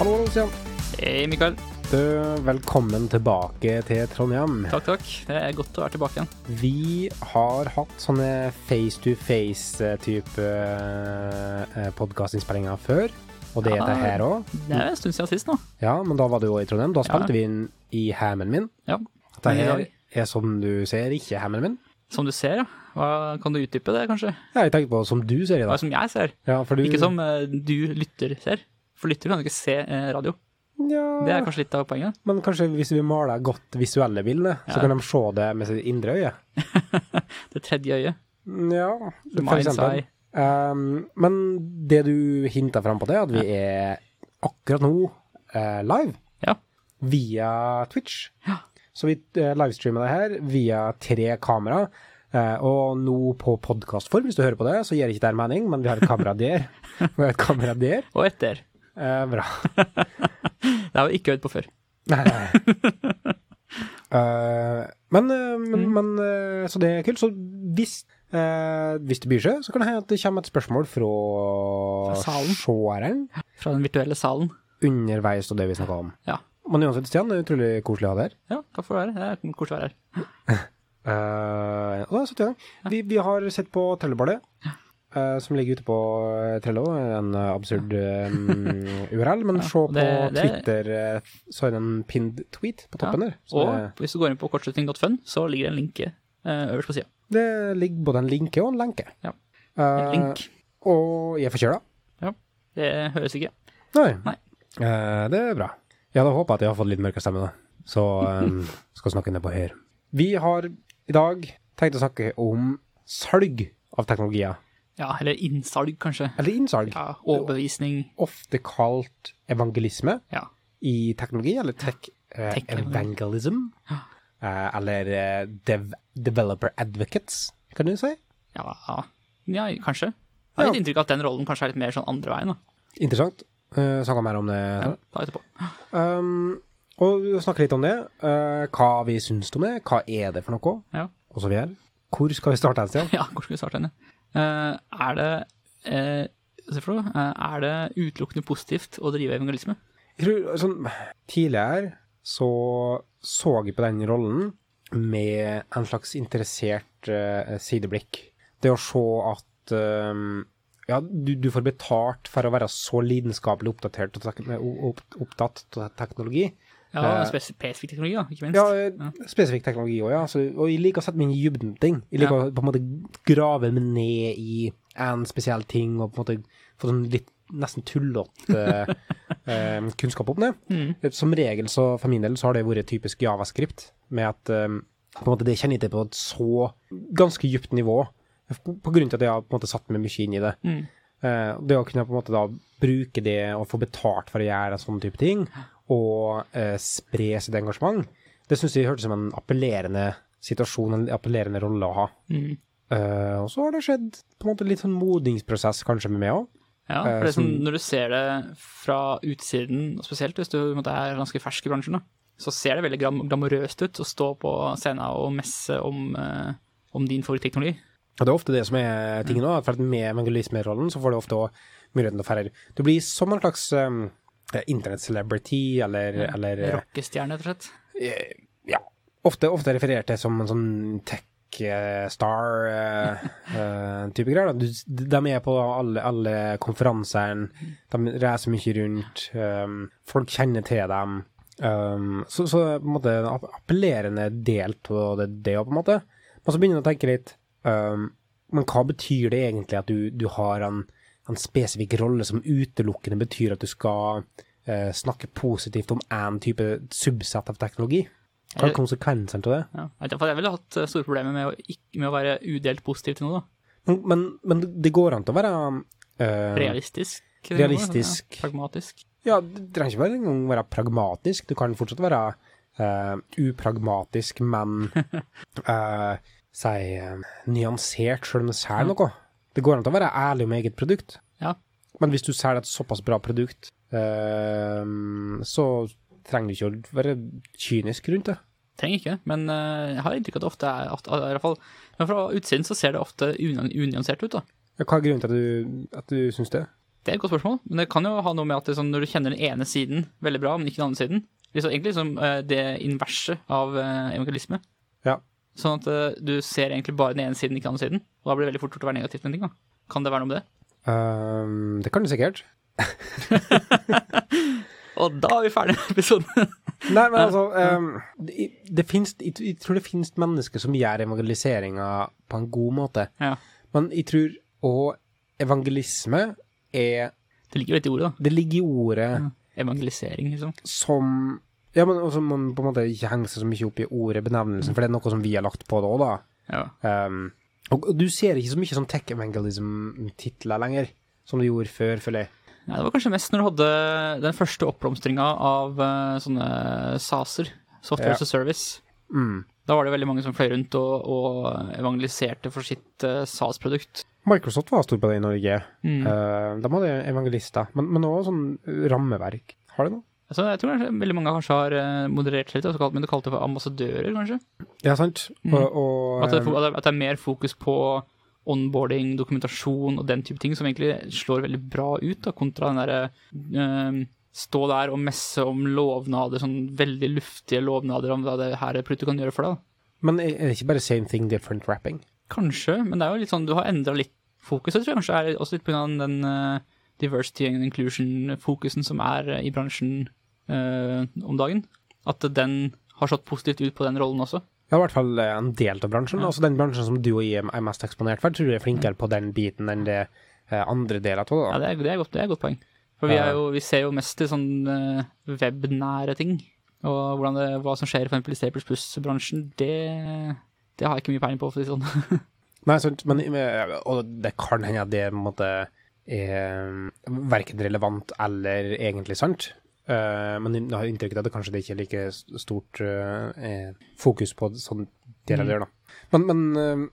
Christian. Hei, Eh, Mikael. Du, velkommen tilbake til Trondheim. Takk, takk. Det er godt å være tilbake igjen. Vi har hatt sånne face to face-type podkastinnspillinger eh, før, og det er det Ja. her òg. Det er en stund siden sist nå. Ja, men da var du òg i Trondheim. Da Ja. spilte vi inn i hammen min. Ja. Det Men i her dag- er som du ser, ikke hammen min. Som du ser, ja. Hva, kan du utdype det, kanskje? Ja, jeg tenkte på som du ser i Hva dag. som jeg ser, Ja, for du, ikke som eh, du lytter ser. For lytter kan du ikke se eh, radio. Det Ja, er kanskje litt av poenget. men kanskje hvis vi maler godt visuelle bilder, så Ja. kan de se det med sitt indre øye. Det tredje øyet. Ja, The for mind's eksempel. eye. Um, men det du hinta fram på det, at vi er akkurat nå eh, live Ja. via Twitch. Så vi eh, livestreamer det her via tre kamera. Eh, og nå på podkastform, hvis du hører på det, så gir ikke det her mening, men vi har et kamera der. Vi har et kamera der. Og etter. Eh, bra. Det har vi ikke hørt på før. Nei, nei. Eh, men, eh, men, Mm. men eh, Så det er kult. Så hvis, eh, hvis det byr seg, så kan det hende at det kommer et spørsmål fra, Fra salen. seeren. Fra den virtuelle salen. underveis av det vi snakka om. Ja. Men uansett, Stian, det er utrolig koselig å ha deg her. Ja, takk for det. Det er koselig å være her. Eh, og da setter vi i gang. Vi, vi har sett på Trelleballet, eh, som ligger ute på eh, Trello. En eh, absurd eh, URL, men se på det- det- Twitter, eh, så er det en pinned tweet på toppen der. Så det, Og hvis du går inn på kortslutning.fun, så ligger det en linke eh, øverst på sida. det ligger både en linke og en lenke. Ja. Eh, En link. og jeg er forkjøla. Det høres ikke. Nei. Nei. Eh, det er bra. Jeg hadde håpa at jeg har fått litt mørkere stemme, da. Så eh, skal snakke nedpå her. Vi har i dag tenkt å snakke om salg av teknologier. Ja, eller innsalg, kanskje. Eller innsalg. Ja, Overbevisning. Ofte kalt evangelisme Ja. i teknologi, eller tech eh, Tech- evangelism. Eh, eller eh, dev developer advocates, kan du si. Ja, ja kanskje. Jeg har litt inntrykk av at den rollen kanskje er litt mer sånn andre veien. Da. Interessant. Uh, Snakka mer om det. Ja, senere. da etterpå. Um, og snakke litt om det. eh, hva vi syns om det. Hva er det for noe? Ja. og så videre. Hvor skal vi starte, Stian? ja, hvor skal vi starte henne? Eh, er det eh, se for noe, eh, er det utelukkende positivt å drive evangelisme? Jeg tror, sånn, tidligere så så jeg på den rollen med en slags interessert eh, sideblikk. Det å se at eh, ja, du, du får betalt for å være så lidenskapelig oppdatert og tek- opp, opptatt av teknologi. Ja, Eh, Spesifikk teknologi, da, ikke minst. Ja, eh, spesifikk teknologi òg, ja. Så, og jeg liker å sette meg inn i dybden på ting. Jeg liker å på en måte grave meg ned i en spesiell ting, og på en måte få sånn litt nesten tullete eh, kunnskap om det. Mm, Som regel, så for min del, så har det vært typisk javascript, med at eh, på en måte det kjenner jeg til på et så ganske dypt nivå, på, på grunn til at jeg har på en måte satt meg mye inn i det. Mm. Eh, det å kunne på en måte da bruke det og få betalt for å gjøre en sånn type ting, og eh, spre sitt engasjement, det syns jeg hørtes ut som en appellerende situasjon, en appellerende rolle å ha. Mm. Eh, og så har det skjedd på en måte litt sånn modningsprosess kanskje med meg òg. eh, Ja, for det er sånn, som- Når du ser det fra utsiden, og spesielt hvis du på en måte, er ganske fersk i bransjen, da, så ser det veldig glam glamorøst ut å stå på scenen og messe om, eh, om din favoritteknologi. Og det er ofte det som er tingen òg, for at med evangelismerollen så får du ofte også muligheten til å ferde. Du blir som en slags um, internett-celebrity, eller, eller eh, Rockestjerne, rett og slett. eh, ja, ofte, ofte referert til som en sånn tech-star-type eh, greier. Da. Du, de er på alle, alle konferansene, de reiser mye rundt, ehm, folk kjenner til dem. ehm, så, så på en måte en app- appellerende del av det, det også, på en måte. Men så begynner du å tenke litt ehm, Men hva betyr det egentlig at du, du har en, en spesifikk rolle som utelukkende betyr at du skal eh, snakke positivt om én type subsett av teknologi? Hva er Eller- konsekvensene av det? Ja. Jeg vet ikke, for Jeg ville hatt eh, store problemer med å, ikk- med å være udelt positiv til noe. da. Men, men, men det går an til å være eh, Realistisk. til Realistisk. Noe, ja. Pragmatisk. Ja, du trenger ikke bare engang være pragmatisk. Du kan fortsatt være eh, upragmatisk, men eh, si eh, nyansert, selv om du selger noe. Det går an til å være ærlig om eget produkt, Ja. men hvis du selger et såpass bra produkt, eh, så trenger du ikke å være kynisk rundt det. Trenger ikke, men eh, jeg har inntrykk av at det ofte er at, at, i hvert fall, men Fra utsiden så ser det ofte unan- unyansert ut. da. Hva er grunnen til at du, at du syns det? Det er et godt spørsmål, men det kan jo ha noe med at det, er sånn, når du kjenner den ene siden veldig bra, men ikke den andre siden liksom, Egentlig liksom, eh, det inverse av eh, evangelisme. Ja. Sånn at eh, du ser egentlig bare den ene siden, ikke den andre siden. Og da blir det veldig fort gjort å være negativt med en ting. da. Kan det være noe med det? Ehm, det kan du sikkert. Og da er vi ferdig med episoden. Nei, men altså ehm, det, det finnes, jeg, jeg tror det finnes mennesker som gjør evangeliseringa på en god måte. ja. Men jeg tror òg evangelisme er Det ligger jo litt i ordet, da. Det ligger i ordet Mm. Evangelisering, liksom. som Ja, men også man på en måte ikke henger seg så mye opp i ordet, Mm. benevnelsen, for det er noe som vi har lagt på det òg, da. Ja. Ehm, og og du ser ikke så mye sånn tech evangelism-titler lenger, som du gjorde før, føler jeg. Nei, det var kanskje mest når du hadde den første oppblomstringa av eh, sånne SASer, Software Ja. as a Service. Mm. Da var det veldig mange som fløy rundt og, og evangeliserte for sitt eh, SAS-produkt. Microsoft var stor på det i Norge. Mm. Eh, de hadde evangelister, men, men også sånn rammeverk. Har de noe? Så jeg tror kanskje veldig mange kanskje har eh, moderert seg litt, og så kalt- men du kalte det for ambassadører, kanskje? Ja, sant. Mm. Og, og At det, er fo- at det- at det er mer fokus på onboarding, dokumentasjon og den type ting, som egentlig slår veldig bra ut, da, kontra den derre eh, stå der og messe om lovnader, sånn veldig luftige lovnader om hva det her er Pluto kan gjøre for deg. da. Men er er det ikke bare same thing, different wrapping? Kanskje, men det er jo litt sånn, du har endra litt fokus. Jeg tror jeg kanskje er også litt pga. den eh, diversity and inclusion-fokusen som er eh, i bransjen eh, om dagen. At den har slått positivt ut på den rollen også. Ja, i hvert fall eh, en del av bransjen. Altså den bransjen som du og jeg er mest eksponert for, tror jeg er flinkere på den biten enn det eh, andre deler av det. Ja, da. Det er, det er, godt, det er et godt poeng. For vi, Ja. er jo, vi ser jo mest til sånn eh, webnære ting. Og hvordan det, hva som skjer for eksempel i Staples Plus-bransjen, det, det har jeg ikke mye peiling på. for å si det sånn. Nei, sant, men, men- og det kan hende at det på en måte er verken relevant eller egentlig sant. Eh, men jeg har inntrykk av at det kanskje det ikke er like s- stort eh, eh, fokus på sånn del av det. da. Men, men eh,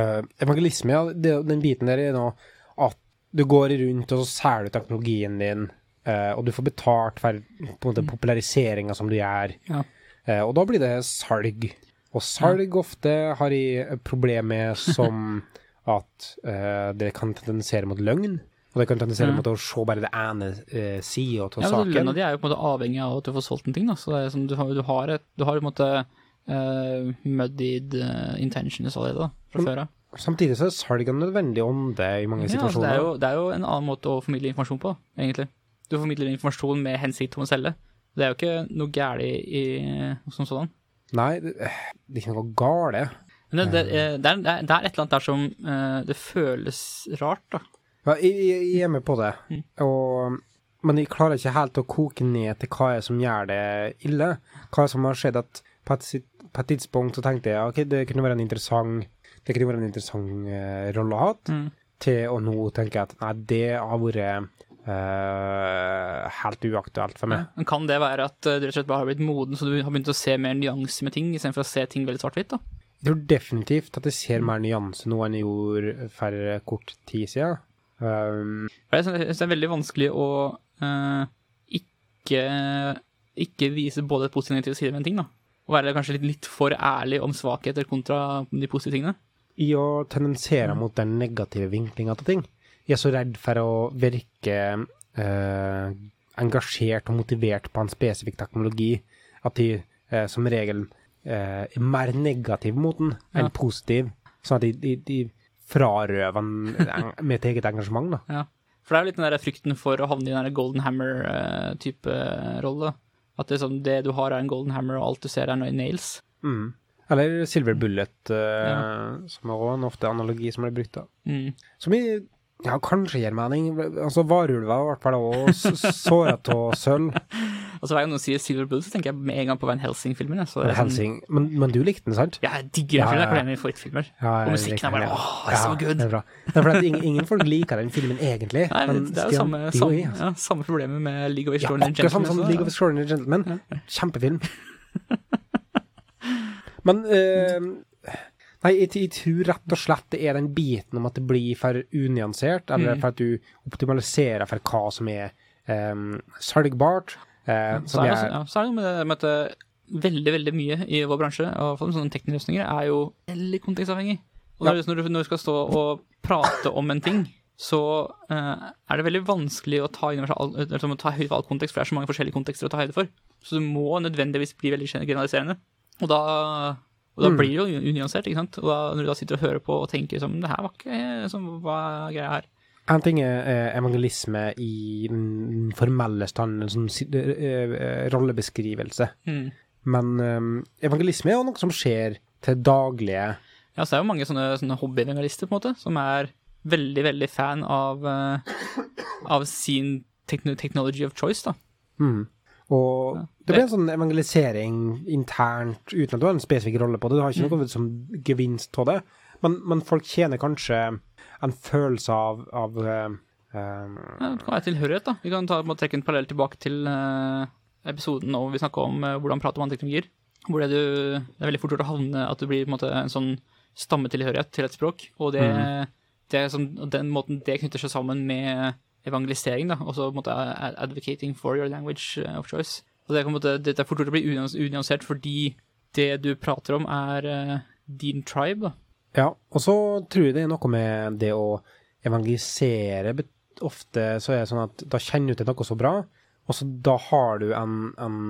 eh, evangelisme, ja, det, den biten der er nå at du går rundt og så selger du teknologien din, eh, og du får betalt for på en måte populariseringa som du gjør. Ja. Eh, og da blir det salg. Og salg ofte har jeg et problem med som at eh, det kan tendensere mot løgn. Og det kan tendensere Ja. mot å se bare det ene uh, sida av Mm. Ja, men saken. Lønna di er jo på en måte avhengig av at du får solgt en ting. Da. Så det er sånn, du, har, du, har et, du har på en måte eh, muddied eh, intentions allerede da, fra Men- før av. Samtidig så er salg en nødvendig ånde i mange Ja, altså, det, situasjoner. er jo, det er jo en annen måte å formidle informasjon på, egentlig. Du formidler informasjon med hensikt om å selge. Det er jo ikke noe gærent i som sådan. Nei, det, eh, det er ikke noe gale. Men det, det, eh, det, er, det er- det er et eller annet der som eh, det føles rart, da. Ja, jeg, jeg, jeg er med på det, og, men jeg klarer ikke helt å koke ned til hva er som gjør det ille. Hva er som har skjedd at på et, sit- på et tidspunkt så tenkte jeg ok, det kunne være en interessant det kunne være en interessant eh, rolle å ha, Mm. til å nå tenke at nei, det har vært eh, helt uaktuelt for meg. Men kan det være at eh, du rett og slett bare har blitt moden, så du har begynt å se mer nyanser med ting, istedenfor å se ting veldig svart-hvitt? da? Jeg tror definitivt at jeg ser mer nyanse nå enn jeg gjorde for kort tid siden. Um, For Jeg syns jeg synes det er veldig vanskelig å eh, ikke, ikke vise både positive og negative sider ved en ting. da. Å være kanskje litt, litt for ærlig om svakheter kontra de positive tingene. i å tendensere mot den negative vinklinga til ting. Jeg er så redd for å virke eh, engasjert og motivert på en spesifikk teknologi at de eh, som regel eh, er mer negativ mot den enn Ja. positiv. Sånn at de, de, de frarøver en en- mitt eget engasjement, da. Ja. For det er jo litt den der frykten for å havne i den der Golden Hammer-type eh, rolle. At det, er sånn, det du har, er en Golden Hammer, og alt du ser, er noe nails. Mm. Eller Silver Bullet, eh, som er også en ofte analogi som blir brukt. da. Mm. Som i ja, kanskje gir mening. Altså, varulver er i hvert fall også såra av sølv. Altså Hver gang noen sier Silver Bullet, så tenker jeg med en gang på Van Helsing-filmen. jeg. Så det er sånn- Helsing. Men, men du likte den, sant? Ja, jeg digger den Ja, filmen. Det ja, ja. er kanskje en av mine favorittfilmer. Og musikken er bare åh, det er så good. Det er bra. Det er fordi at ingen, ingen folk liker den filmen egentlig. Nei, men men det er jo Stian- samme, de og samme, jeg, altså. ja, samme problemet med League of Ja, Extraordinary akkurat samme som også, League of da. Extraordinary Gentlemen. Kjempefilm. Men eh, Nei, jeg, jeg tror rett og slett det er den biten om at det blir for unyansert, eller Mm. for at du optimaliserer for hva som er um, salgbart. eh, Så som er, det, er, også- ja, så er det noe med det med at eh, veldig veldig mye i vår bransje, i hvert fall med sånne tekniske løsninger, er jo veldig kontekstavhengig. Og Ja. det er liksom når, du, når du skal stå og prate om en ting, så eh, er det veldig vanskelig å ta, inn over seg all, eller sånn å ta høyde for all kontekst, for det er så mange forskjellige kontekster å ta høyde for. Så du må nødvendigvis bli veldig generaliserende. Og da, og da Mm. blir det jo unyansert, ikke sant. Og da, når du da sitter og hører på og tenker sånn Det her var ikke sånn, Hva er greia her? En ting er eh, evangelisme i den formelle stand, en sånn si- eh, eh, rollebeskrivelse. Mm. Men eh, evangelisme er jo noe som skjer til daglige. Ja, så det er jo mange sånne, sånne hobbyevangelister på en måte, som er veldig, veldig fan av, eh, av sin tekno technology of choice, da. Mm. Og Ja. det blir en sånn evangelisering internt, uten at du har en spesifikk rolle på det. Du har ikke noe som gevinst av det, men, men folk tjener kanskje en følelse av, av eh, eh, Ja, det kan være tilhørighet, da. Vi kan ta, må trekke en parallell tilbake til eh, episoden hvor vi snakka om eh, hvordan prate om andre teknologier. Hvor det, du, det er veldig fort gjort å havne at du blir på en, måte, en sånn stammetilhørighet til et språk. Og det, det er sånn, og den måten det knytter seg sammen med evangelisering, da. Også på en måte ad- advocating for your language eh, of choice. Og det, kan, på en måte, det er fort gjort å bli unans- unyansert fordi det du prater om, er eh, din tribe, da. Ja, og så tror jeg det er noe med det å evangelisere. Bet- Ofte så er det sånn at da kjenner du til noe så bra, og så da har du en, en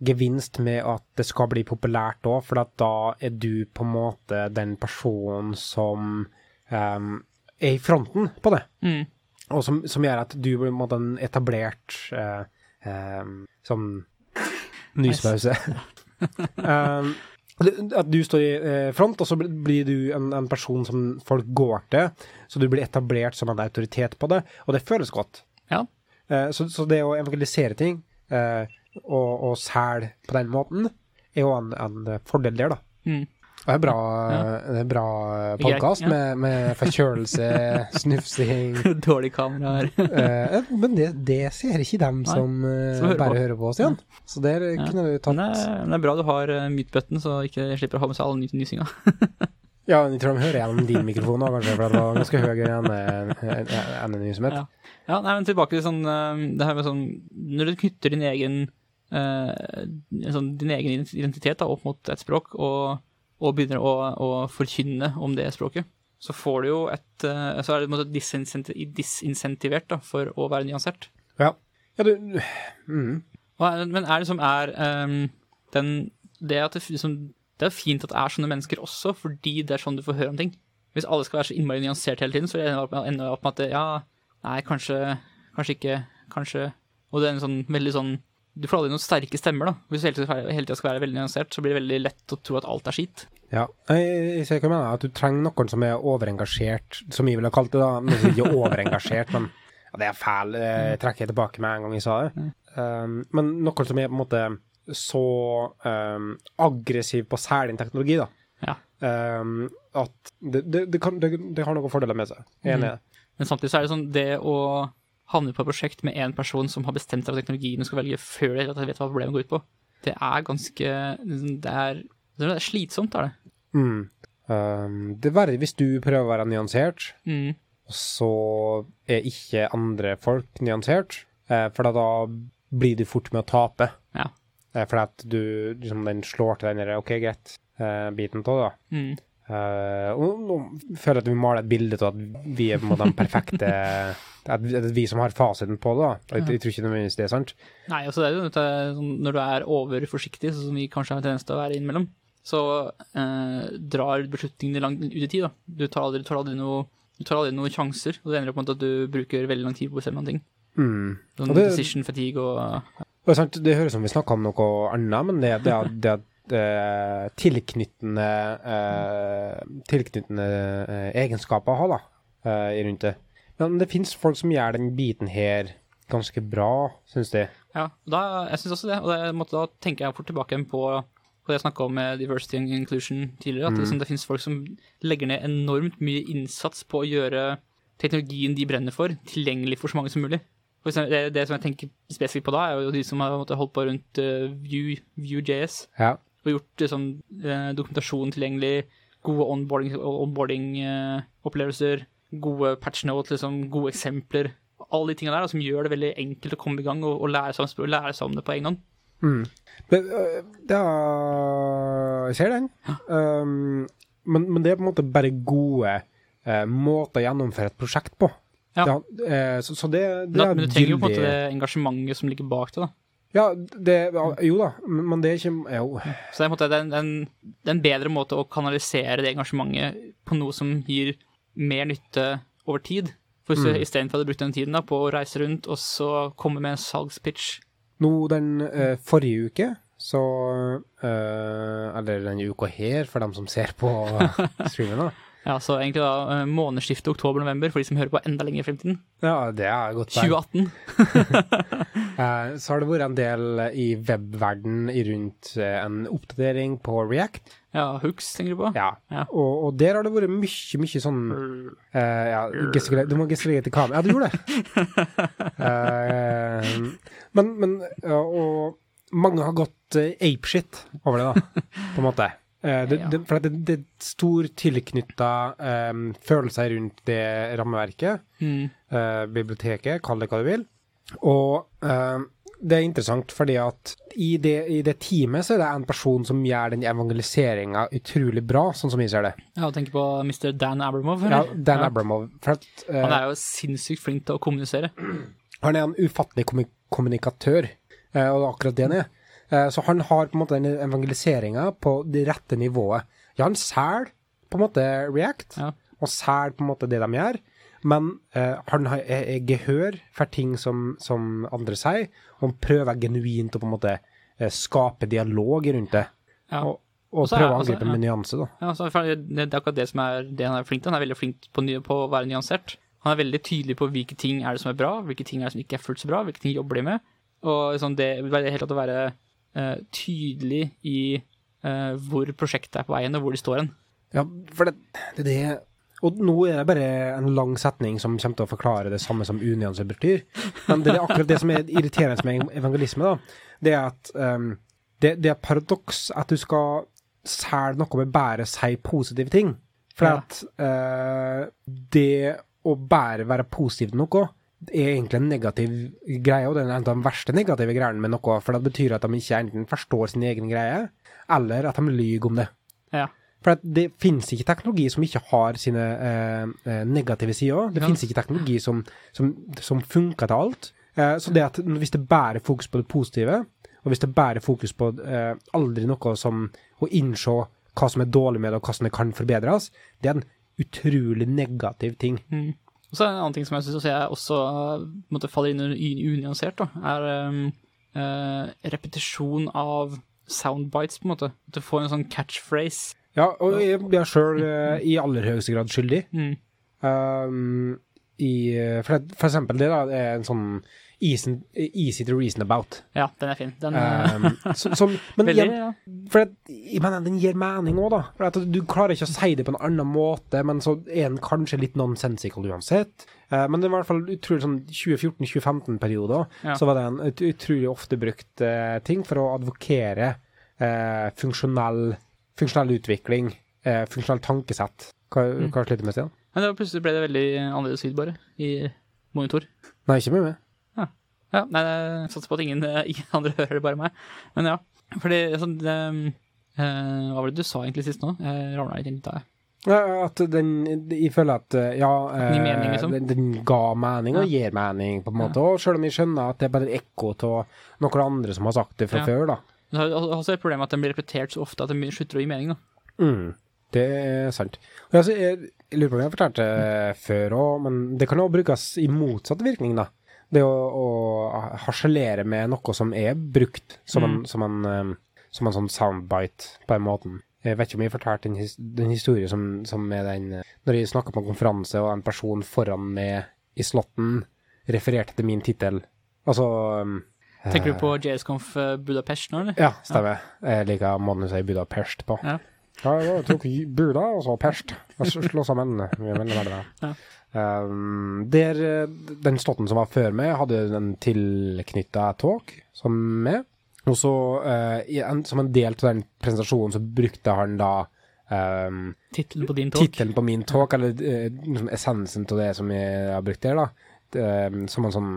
gevinst med at det skal bli populært òg, for at da er du på en måte den personen som em, er i fronten på det, Mm. og som, som gjør at du blir på en måte en etablert eh, em, sånn Nyspause. um, det- at du står i eh, front, og så blir- blir du en, en person som folk går til. Så du blir etablert som en autoritet på det, og det føles godt. Ja. Eh, så, så det å evangelisere ting, eh, og, og selge på den måten, er jo en, en fordel der, da. Mm. Og det er bra, Ja. det er bra Greit, podkast ja. med, med forkjølelse, snufsing Dårlig kamera her. Eh, Men det, det ser ikke dem Nei, som, eh, som hører bare på. hører på oss igjen. Så der Ja. kunne du tatt Men det, er, men det er bra du har uh, mute-button, så ikke jeg slipper å ha med seg all ny- nysinga. Ja, jeg tror de hører gjennom din mikrofon òg, kanskje, for det var ganske høyere enn en, en, nyhetsmøte. Ja. Ja, nei, men tilbake til sånn eh, det her med sånn Når du knytter din egen eh, sånn, din egen ident- identitet da, opp mot et språk, og, og begynner å, å forkynne om det språket, så får du jo et eh, Så er det på en måte disincenti- disinsentivert da, for å være nyansert. Ja. ja, du mm. Hva er, men er det som er ehm, den, det, at det, f- liksom, det er fint at det er sånne mennesker også, fordi det er sånn du får høre om ting. Hvis alle skal være så innmari nyansert hele tiden, så ender det opp med- ender det opp med at det, ja, nei, kanskje, kanskje ikke, kanskje. Og det er en sånn veldig sånn Du får aldri noen sterke stemmer, da. Hvis du hele tiden- hele tida skal være veldig nyansert, så blir det veldig lett å tro at alt er skitt. Ja. Jeg, jeg ser hva du mener, at du trenger noen som er overengasjert, som jeg ville kalt det, da. Men ikke overengasjert, men ja, det er fæl. Jeg trekker jeg tilbake med en gang jeg sa det. Um, men noen som er på en måte så um, aggressiv på særlig teknologi, da. Ja. Um, at det, det, det, kan, det, det har noen fordeler med seg. Jeg er enig i det. Men samtidig så er det sånn det å havne på et prosjekt med én person som har bestemt seg for teknologien du skal velge før det, at jeg vet hva problemet går ut på, det er ganske Det er, det er slitsomt, er det. Mm. Um, det er verre hvis du prøver å være nyansert, Mm. og så er ikke andre folk nyansert. eh, For da blir du fort med å tape. Ja. Eh, Fordi at du liksom den slår til den der OK, greit-biten av det. da. Mm. Eh, og nå føler jeg at vi maler et bilde av at vi er på en måte den perfekte At det er vi som har fasiten på det. da. Og Jeg, jeg tror ikke nødvendigvis det er sant. Nei, altså det er jo dette sånn, Når du er overforsiktig, sånn som vi kanskje har en tendens til å være innimellom, så eh, drar beslutningene langt ut i tid. Da. Du tar aldri, tar aldri noe du tar aldri noen sjanser, og det ender opp med at du bruker veldig lang tid på å bestemme noen ting. Mm. Sånn Og det- decision fatigue og Og det er sant, det høres ut som vi snakker om noe annet, men det, det, er- det, er eh, tilknyttende eh, Tilknyttende eh, egenskaper å ha, da, eh, rundt det. Men det fins folk som gjør den biten her ganske bra, syns de. Ja, og da, jeg syns også det. Og det, er en måte, da tenker jeg fort tilbake igjen på, på det jeg snakka om med diversity and inclusion tidligere. At det, liksom, det finnes folk som legger ned enormt mye innsats på å gjøre teknologien de brenner for, tilgjengelig for så mange som mulig. For eksempel, det, det som jeg tenker spesifikt på da, er jo de som har på en måte, holdt på rundt eh, Vue, Vue.js Ja. og gjort liksom, eh, dokumentasjon tilgjengelig, gode onboarding- onboarding-opplevelser, gode patch notes, liksom, gode eksempler. Alle de tingene der da, som gjør det veldig enkelt å komme i gang og, og lære, seg om, språk- lære seg om det på egen hånd. Mm. Det, øh, det er, jeg ser den. Ehm, Um, men, men det er på en måte bare gode eh, måter å gjennomføre et prosjekt på. Ja. Det, eh, så, så det, det Men, at- er men du trenger jo på en gyldig- måte det engasjementet som ligger bak det. da. Ja, det, jo da, men det er ikke Jo. Så det er, på en måte, det, er en, en, det er en bedre måte å kanalisere det engasjementet på noe som gir mer nytte over tid. For hvis du Mm. istedenfor hadde brukt den tiden da, på å reise rundt og så komme med en salgspitch Nå den eh, forrige uke, så eh, Eller denne uka her, for dem som ser på streamen, da. Ja, så egentlig da eh, månedsskiftet oktober-november, for de som hører på enda lenger i fremtiden. Ja, det er godt poeng. 2018. Eh, så har det vært en del i webverden i rundt eh, en oppdatering på React. Ja, Hooks, tenker du på? Ja. Ja. Og, og der har det vært mye, mye sånn Ja. Eh, ja, gestikulere. Du må gestikulere til kamera. Ja, du gjorde det. Eh, men, men ja, Og mange har gått eh, apeshit over det, da, på en måte. Eh, det, det, for at det, det er stor tilknytta eh, følelser rundt det rammeverket, Mm. eh, biblioteket, kall det hva du vil. Og eh, det er interessant fordi at i det, i det teamet så er det en person som gjør den evangeliseringa utrolig bra, sånn som vi ser det. Ja, og tenker på Mr. Dan Abramov. Ja, eller? Dan Abramov. For at, eh, Han er jo sinnssykt flink til å kommunisere. Han er en ufattelig kommu- kommunikatør, eh, og det er akkurat det han er. Eh, Så han har på en måte den evangeliseringa på det rette nivået. Ja, han selger på en måte React, Ja. og selger på en måte det de gjør, men eh, han har er, er gehør for ting som, som andre sier, og han prøver genuint å på en måte eh, skape dialog rundt det. Ja. Og, og Og så er- prøve å altså, angripe ja. med nyanse, da. Ja, altså, for det det er akkurat det som er det han er flink til. Han er veldig flink på, ny- på å være nyansert. Han er veldig tydelig på hvilke ting er det som er bra, hvilke ting er det som ikke er fullt så bra, hvilke ting jobber de med. Og liksom det i det hele tatt å være eh, tydelig i eh, hvor prosjektet er på veien, og hvor de står hen. Ja, for det, det, det Og nå er det bare en lang setning som kommer til å forklare det samme som unyanser betyr. Men det er akkurat det som er irriterende med evangelisme, da. Det er at ehm, det, det er et paradoks at du skal selge noe med bare å si positive ting. For Ja. at eh, det å bare være positiv til noe er egentlig en negativ greie, og det er en av de verste negative greiene med noe. For det betyr at de ikke enten forstår sin egen greie, eller at de lyver om det. Ja. For at det finnes ikke teknologi som ikke har sine eh, eh, negative sider. Det Ja. finnes ikke teknologi som, som, som funker til alt. Eh, så det at n- hvis det bare er fokus på det positive, og hvis det bare er fokus på eh, aldri noe som å innse hva som er dårlig med det, og hva som det kan forbedres, det er en utrolig negativ ting. Mm. Og så er det en annen ting som jeg syns jeg også eh, på en måte, faller inn under u- unyansert, da, er eh, eh, repetisjon av soundbites, på en måte. At du får en sånn catchphrase. Ja, og jeg blir sjøl eh, i aller høyeste grad skyldig. Mm. Um, i, eh, for, for eksempel det da, er en sånn easy, easy to reason about. Ja, den er fin. Den er Um, så, som, men veldig igjen, ja. for at, jeg mener, den gir mening òg, da. For at du klarer ikke å si det på en annen måte, men så er den kanskje litt nonsensical uansett. Eh, men det var i hvert fall utrolig sånn 2014-2015-perioder, Ja. så var det en ut utrolig ofte brukt eh, ting for å advokere eh, funksjonell, funksjonell utvikling, eh, funksjonell tankesett. Hva, Mm. hva sliter du med, Stian? Men da plutselig ble det veldig annerledes lyd bare, i monitor. Nei, ikke med meg. Ja, nei, jeg satser på at ingen, eh, ingen andre hører det, bare meg. Men ja, fordi sånn det, eh, Hva var det du sa egentlig sist nå? Jeg ramla litt inn litt av det. Ja, At den Jeg føler at eh, ja, den gir mening, eh, liksom. den, den ga mening og Ja. gir mening, på en måte. Og selv om jeg skjønner at det er bare ekko av noen andre som har sagt det fra Ja. før, da. Men så er det også et problem med at den blir repetert så ofte at den slutter å gi mening. da. Mm, det er sant. Og altså, jeg, jeg lurer på om jeg har fortalt det før òg, men det kan òg brukes i motsatt virkning, da. Det å, å harselere med noe som er brukt som, en, som, en, em, som en sånn soundbite, på den måten. Jeg vet ikke om jeg fortalte den, his den historien som, som er den eh, Når jeg snakka på en konferanse, og en person foran meg i slåtten refererte til min tittel. Altså em, Tenker du på JSConf eh, Budapest nå, eller? ja, stemmer. Jeg liker måten du sier Budapest på. Ja. Ja, jeg tok Buda og så Pest. Og så slå sammen. Vi er veldig, veldig bra. Ja. Um, der, eh, den slåtten som var før meg, hadde en tilknytta talk som meg. Og så, eh, i en, som en del av den presentasjonen, så brukte han da um, Tittelen på din talk? tittelen på min talk, eller eh, liksom essensen av det som jeg har brukt der, da, eh, som en sånn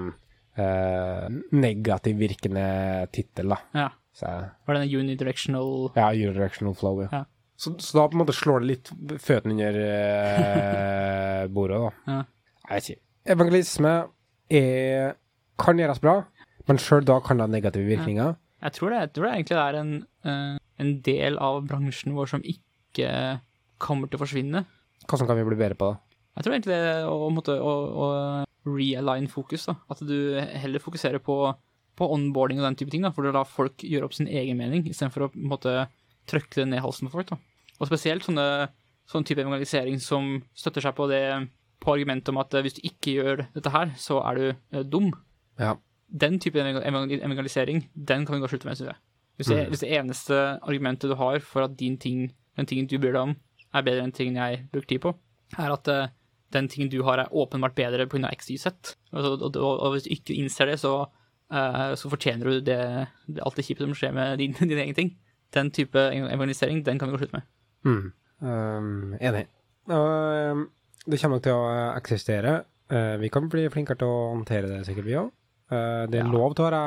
eh, negativ virkende tittel, da. Ja. Så jeg Var det den unidirectional ja, unidirectional flow, ja. Ja. Så, så da på en måte slår det litt føttene under eh, bordet, da. Ja. Jeg vet ikke. Evangelisme er, kan gjøres bra, men sjøl da kan det ha negative virkninger. Jeg tror det, jeg tror det egentlig er en, eh, en del av bransjen vår som ikke kommer til å forsvinne. Hva som kan vi bli bedre på? da? Jeg tror egentlig det er å, måtte, å, å realign fokus, da. At du heller fokuserer på, på onboarding og den type ting, da. For å la folk gjøre opp sin egen mening, istedenfor å på en måte trykke det ned halsen på folk, da. Og spesielt sånne, sånn type evangelisering som støtter seg på det på argumentet om at eh, hvis du ikke gjør dette her, så er du eh, dum. Ja. Den type evangel- evangel- evangelisering, den kan vi godt slutte med, synes jeg. Hvis Mm. det, hvis det eneste argumentet du har for at din ting, den tingen du bryr deg om, er bedre enn tingen jeg bruker tid på, er at eh, den tingen du har er åpenbart bedre pga. XYZ. Altså, og, og, og hvis du ikke innser det, så, eh, så fortjener du det, det, alt det kjipe som skjer med din, din egen ting. Den type evangelisering, den kan vi gå slutt med. Mm. Um, enig. Um, det kommer nok til å eh, eksistere. Uh, vi kan bli flinkere til å håndtere det, sikkert vi òg. Uh, det er Ja. lov til å være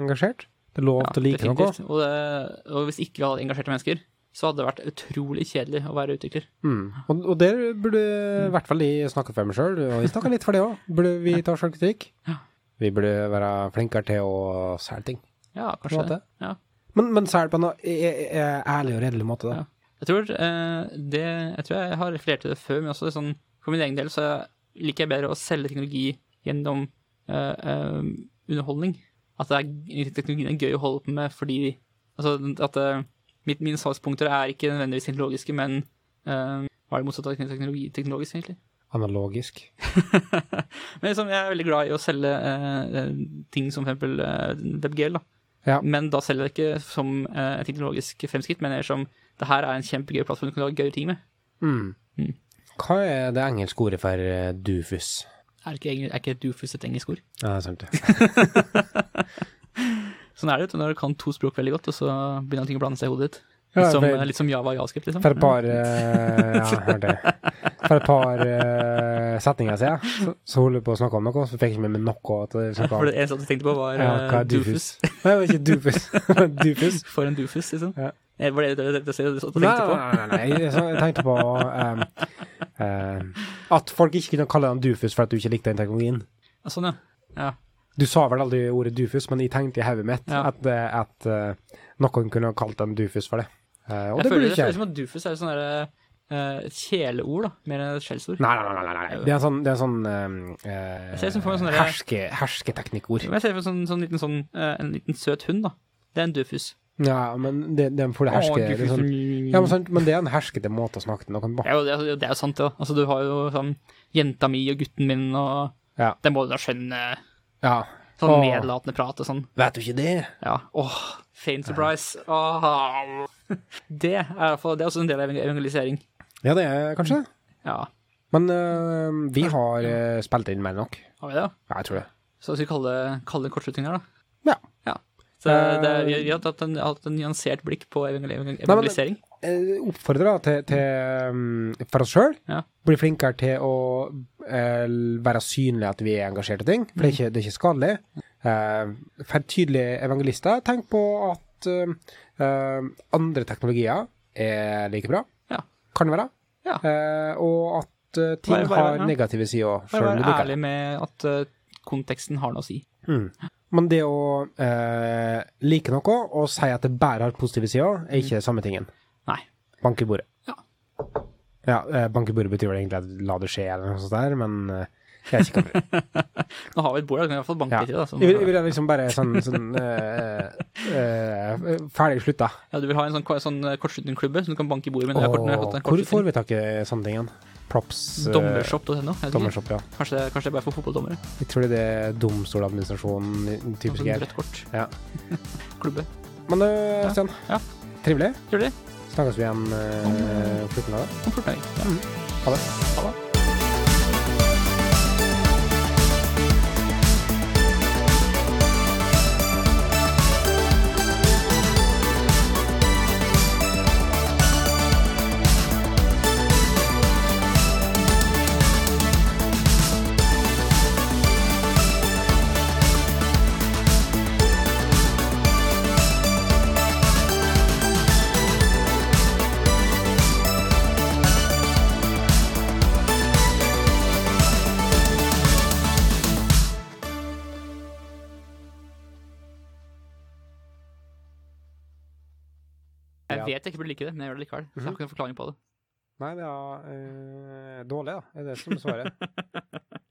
engasjert. Det er lov til å like noe. definitivt. Og, det, og hvis ikke vi hadde engasjerte mennesker, så hadde det vært utrolig kjedelig å være utvikler. Mm. Og, og der burde i hvert fall jeg snakke for meg sjøl, og jeg snakker litt for det òg. Burde vi ta sjølkritikk? Ja. Vi burde være flinkere til å selge ting. Ja, på en kanskje det. måte. Ja. Men, men selge på en eh, eh, eh, ærlig og redelig måte, da. Ja. Jeg tror, eh, det, jeg tror jeg har referert til det før, men også det er sånn, for min egen del så liker jeg bedre å selge teknologi gjennom eh, eh, underholdning. At det er, teknologien er gøy å holde på med fordi altså, at eh, mitt, Mine salgspunkter er ikke nødvendigvis teknologiske, men eh, hva er det motsatte av teknologi, teknologisk, egentlig? Analogisk. Men liksom, jeg er veldig glad i å selge eh, ting som for eksempel eh, WebGL, da. Ja. Men da selger jeg det ikke som eh, et teknologisk fremskritt, men mer som det her er en kjempegøy plattform du kan lage gøye ting med. Mm. Mm. Hva er det engelske ordet for eh, dufus? Er ikke, eng- er ikke doofus et engelsk ord? Ja, det er sant, det. Sånn er det vet du, når du kan to språk veldig godt, og så begynner ting å blande seg i hodet ditt. Ja, Litt som, for- litt som Java og Javascript, liksom. For et par eh, Ja, jeg hørte det. For et par eh, setninger siden så, så holdt jeg på å snakke om noe, så fikk jeg ikke med meg noe. At jeg Ja, snakket For om. det eneste jeg tenkte på, var Ja, eh, hva er doofus. dufus? Nei, det var ikke dufus. Det var dufus. For en doofus, liksom. Ja. Eh, Var det det det- det- det- det- det- det du Nei, tenkte på? Nei, nei, nei, jeg så- jeg tenkte på ehm, ehm, at folk ikke kunne kalle deg dufus for at du ikke likte den teknologien. Ja, Sånn, ja. ja. Du sa vel aldri ordet dufus, men jeg tenkte i hodet mitt Ja. at, eh, at eh, noen kunne kalt en dufus for det. Eh, og Jeg det føler, burde det ikke føles jeg. som at doofus er et sånn derre eh, kjeleord, da. Mer enn et skjellsord. Nei, nei, nei, nei, nei. nei. Det er en sånn, det er en sånn ehm, eh, Jeg ser det som for meg sånn derre- herske, hersketeknikkord. Men Jeg ser for meg sånn, sånn, liten, sånn, eh, en liten søt hund, da. Det er en doofus. Ja, men det, det er for det herske... Å, det er doofus. sånn, ja, men, sant, men det er en herskete måte å snakke til noen på. Ja, jo, det, er- det er jo sant, det. da. Altså, du har jo sånn jenta mi og gutten min og Ja. Den må du da skjønne. Ja. Sånn Åh. nedlatende prat og sånn. Vet du ikke det? Ja. Åh, faint surprise. Åh. Det er i hvert fall Det er også en del av evangelisering. Ja, det er kanskje det. Ja. Men eh, vi har eh, spilt inn mer enn nok. Har vi det? da? Ja, jeg tror det. Så skal vi kalle det, kalle det en kortslutning her, da. Ja. ja. Så det, er- vi, vi har tatt en, hatt en nyansert blikk på evangel- evangel- evangelisering. eh, oppfordre da, til, til um, for oss sjøl. Ja. Bli flinkere til å eh, være synlig at vi er engasjert i ting, for det er ikke, det er ikke skadelig. Eh, for tydelige evangelister, tenk på at eh, eh, andre teknologier er like bra, Ja. kan det være, Ja. Eh, og at eh, ting Bare- bare- har ja. negative sider òg, Bare sjøl om du være liker det. ærlig med at eh, konteksten har noe å si. Mm. Men det å eh, like noe og si at det bare har positive sider, er ikke samme tingen. Nei. Bank i bordet. Ja. Ja, eh, bank i bordet betyr vel egentlig at la det skje, eller noe sånt der, men eh, jeg er ikke klar. Nå har vi et bord, da kan vi i hvert fall banke Ja. litt i det. da, sånn- Jeg vil, jeg vil liksom bare sånn, sånn eh, eh, ferdig slutta. Ja, du vil ha en sånn, sånn kortslutningsklubbe som du kan banke i bordet med. når jeg har kort- når jeg har fått en Hvor får kortslutning. vi tak i sånne ting igjen? Props eh, Dommershop.no. jeg vet ikke. Dommershop, ja. Kanskje, det- kanskje det er bare for fotballdommere. Jeg tror det er domstoladministrasjonen Og typisk sånn her. rødt kort. Ja. Klubbe. Men eh, Stian, Ja. trivelig. Gjør det. Snakkes vi igjen eh, 14 dager. Om 14 dager. Ja. Ha det. Ha det. fordi Jeg vet jeg ikke burde like det, men jeg gjør det likevel. Så jeg har ikke noen forklaring på det. Nei, det er eh, dårlig, da. er det som er svaret.